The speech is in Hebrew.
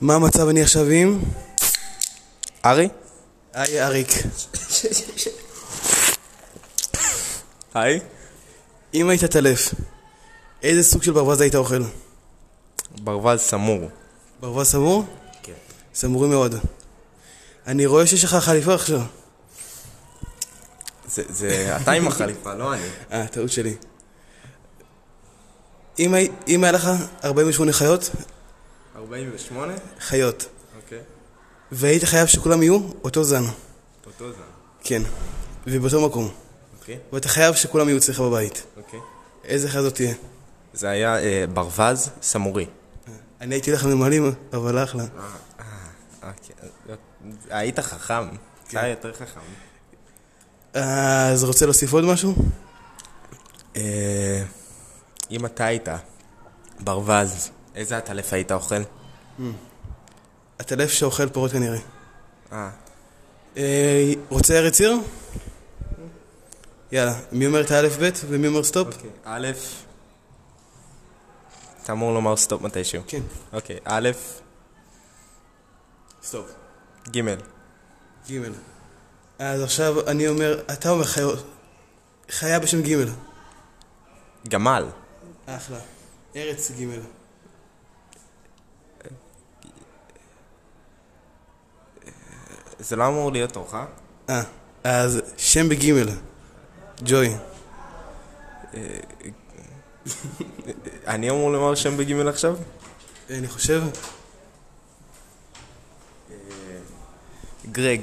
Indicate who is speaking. Speaker 1: מה המצב אני עכשיו עם?
Speaker 2: ארי?
Speaker 1: היי אריק.
Speaker 2: היי?
Speaker 1: אם היית טלף, איזה סוג של ברווז היית אוכל?
Speaker 2: ברווז סמור.
Speaker 1: ברווז סמור?
Speaker 2: כן.
Speaker 1: סמורים מאוד. אני רואה שיש לך חליפה עכשיו.
Speaker 2: זה, זה, אתה עם החליפה, לא אני.
Speaker 1: אה, טעות שלי. אם, הי... אם היה לך 48 חיות,
Speaker 2: 48?
Speaker 1: חיות,
Speaker 2: אוקיי.
Speaker 1: והיית חייב שכולם יהיו אותו זן.
Speaker 2: אותו זן.
Speaker 1: כן. ובאותו מקום.
Speaker 2: אוקיי,
Speaker 1: ואתה חייב שכולם יהיו אצלך בבית.
Speaker 2: אוקיי.
Speaker 1: איזה חיה זאת תהיה?
Speaker 2: זה היה אה, ברווז סמורי.
Speaker 1: אני הייתי הולך לנמלים, אבל אחלה.
Speaker 2: אוקיי. היית חכם. כן. אתה יותר חכם.
Speaker 1: אה, אז רוצה להוסיף עוד משהו?
Speaker 2: אה, אם אתה היית ברווז, איזה עטלף היית אוכל?
Speaker 1: הטלף שאוכל פירות כנראה.
Speaker 2: אה,
Speaker 1: אה, רוצה ארץ עיר? יאללה, מי אומר את האלף בית ומי אומר סטופ?
Speaker 2: אוקיי. א', אתה אמור לומר סטופ מתישהו.
Speaker 1: כן,
Speaker 2: אוקיי, א',
Speaker 1: סטופ.
Speaker 2: ג'.
Speaker 1: ג' אז עכשיו אני אומר, אתה אומר חיות. חיה בשם ג'
Speaker 2: גמל.
Speaker 1: אחלה. ארץ ג'
Speaker 2: זה לא אמור להיות תורך.
Speaker 1: אה, אז שם בג' ג'וי.
Speaker 2: אני אמור לומר שם בגימל עכשיו?
Speaker 1: אני חושב,
Speaker 2: גרג.